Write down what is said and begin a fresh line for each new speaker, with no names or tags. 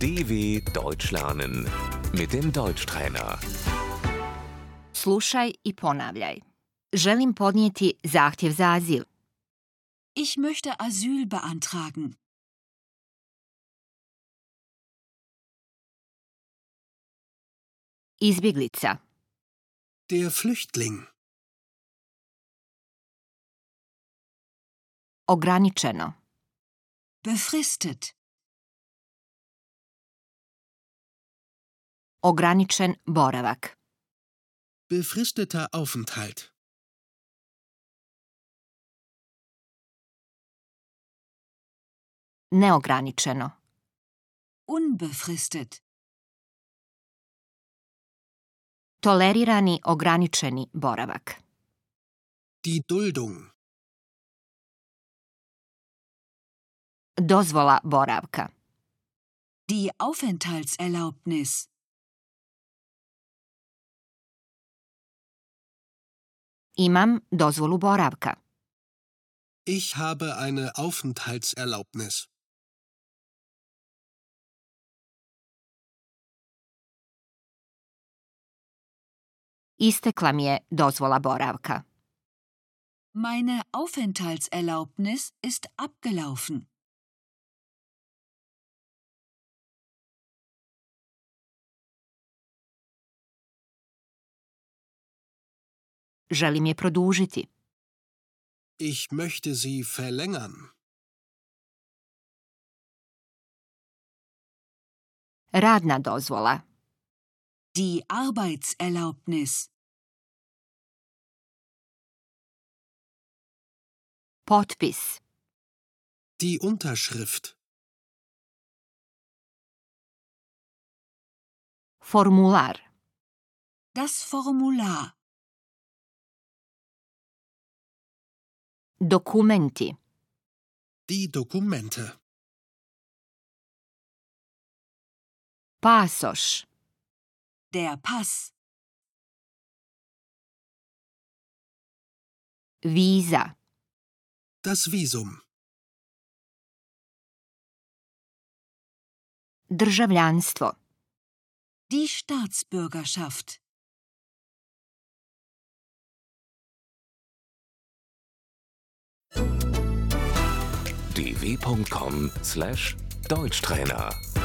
DW Deutsch lernen mit dem Deutschtrainer.
Slušaj i ponavljaj. Želim podnijeti zahtjev za azil.
Ich möchte Asyl beantragen.
Izbjeglica.
Der Flüchtling.
Ograničeno.
Befristet.
Ograničen boravak.
Befristeter Aufenthalt.
Neograničeno.
Unbefristet.
Tolerirani ograničeni boravak.
Die Duldung.
Dozvola boravka.
Die Aufenthaltserlaubnis.
Imam dozvolu boravka.
Ich habe eine Aufenthaltserlaubnis.
Istekla mi je dozvola boravka.
Meine Aufenthaltserlaubnis ist abgelaufen.
Želim je produžiti.
Ich möchte sie verlängern.
Radna dozvola.
Die Arbeitserlaubnis.
Potpis.
Die Unterschrift.
Formular.
Das Formular.
Dokumenti.
Die Dokumente.
Pasoš.
Der Pass.
Viza.
Das Visum.
Državljanstvo.
Die Staatsbürgerschaft.
dw.com/deutschtrainer